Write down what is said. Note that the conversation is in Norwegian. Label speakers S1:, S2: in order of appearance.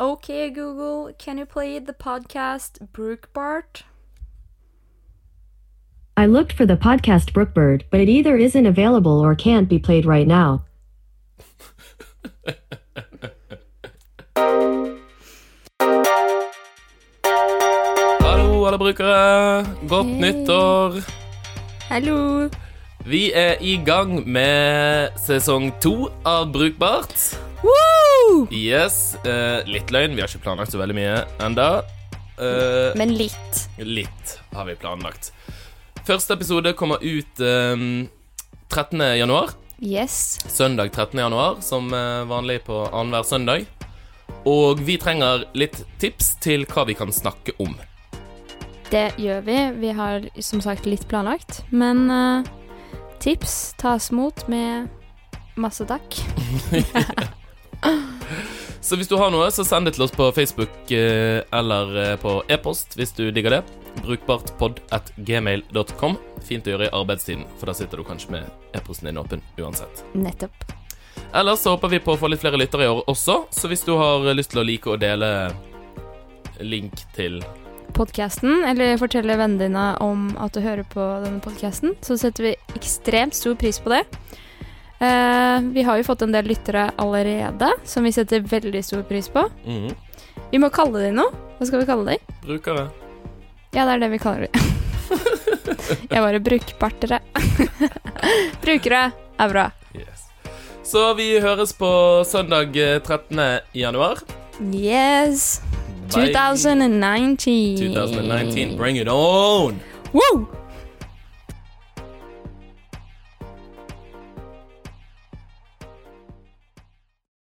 S1: Okay, Google, can you play the podcast Brookbart?
S2: I looked for the podcast Brookbird, but it either isn't available or can't be played right now.
S3: Hallo, alle brukere. Godt nyttår.
S1: Hallo!
S3: Vi er i gang med sesong to av Brukbart.
S1: Woo!
S3: Yes. eh, litt løgn. Vi har ikke planlagt så veldig mye enda. Eh,
S1: Men litt.
S3: litt har vi planlagt. Første episode kommer ut eh, 13. januar.
S1: Yes.
S3: Søndag 13. januar, som eh, vanlig på annenhver søndag. Og vi trenger litt tips til hva vi kan snakke om.
S1: Det gjør vi. Vi har som sagt litt planlagt. Men eh, tips tas mot med masse takk.
S3: Så hvis du har noe, så send det til oss på Facebook eh, eller eh, på e-post hvis du digger det. Brukbartpod.gmail.com. Fint å gjøre i arbeidstiden, for da sitter du kanskje med e-posten din åpen uansett.
S1: Nettopp.
S3: Ellers så håper vi på å få litt flere lyttere i år også, så hvis du har eh, lyst til å like og dele link til
S1: Podkasten, eller fortelle vennene dine om at du hører på denne podkasten, så setter vi ekstremt stor pris på det. Eh, vi har jo fått en del lyttere allerede, som vi setter veldig stor pris på.
S3: mhm,
S1: Vi må kalle dem noe. Hva skal vi kalle dem?
S3: brukere.
S1: Ja, det er det vi kaller det. Jeg bare brukbartere. Brukere er bra.
S3: Yes. Så vi høres på søndag eh, 13. januar.
S1: Yes.
S3: Bye.
S1: 2019.
S3: 2019. Bring it on!
S1: Woo!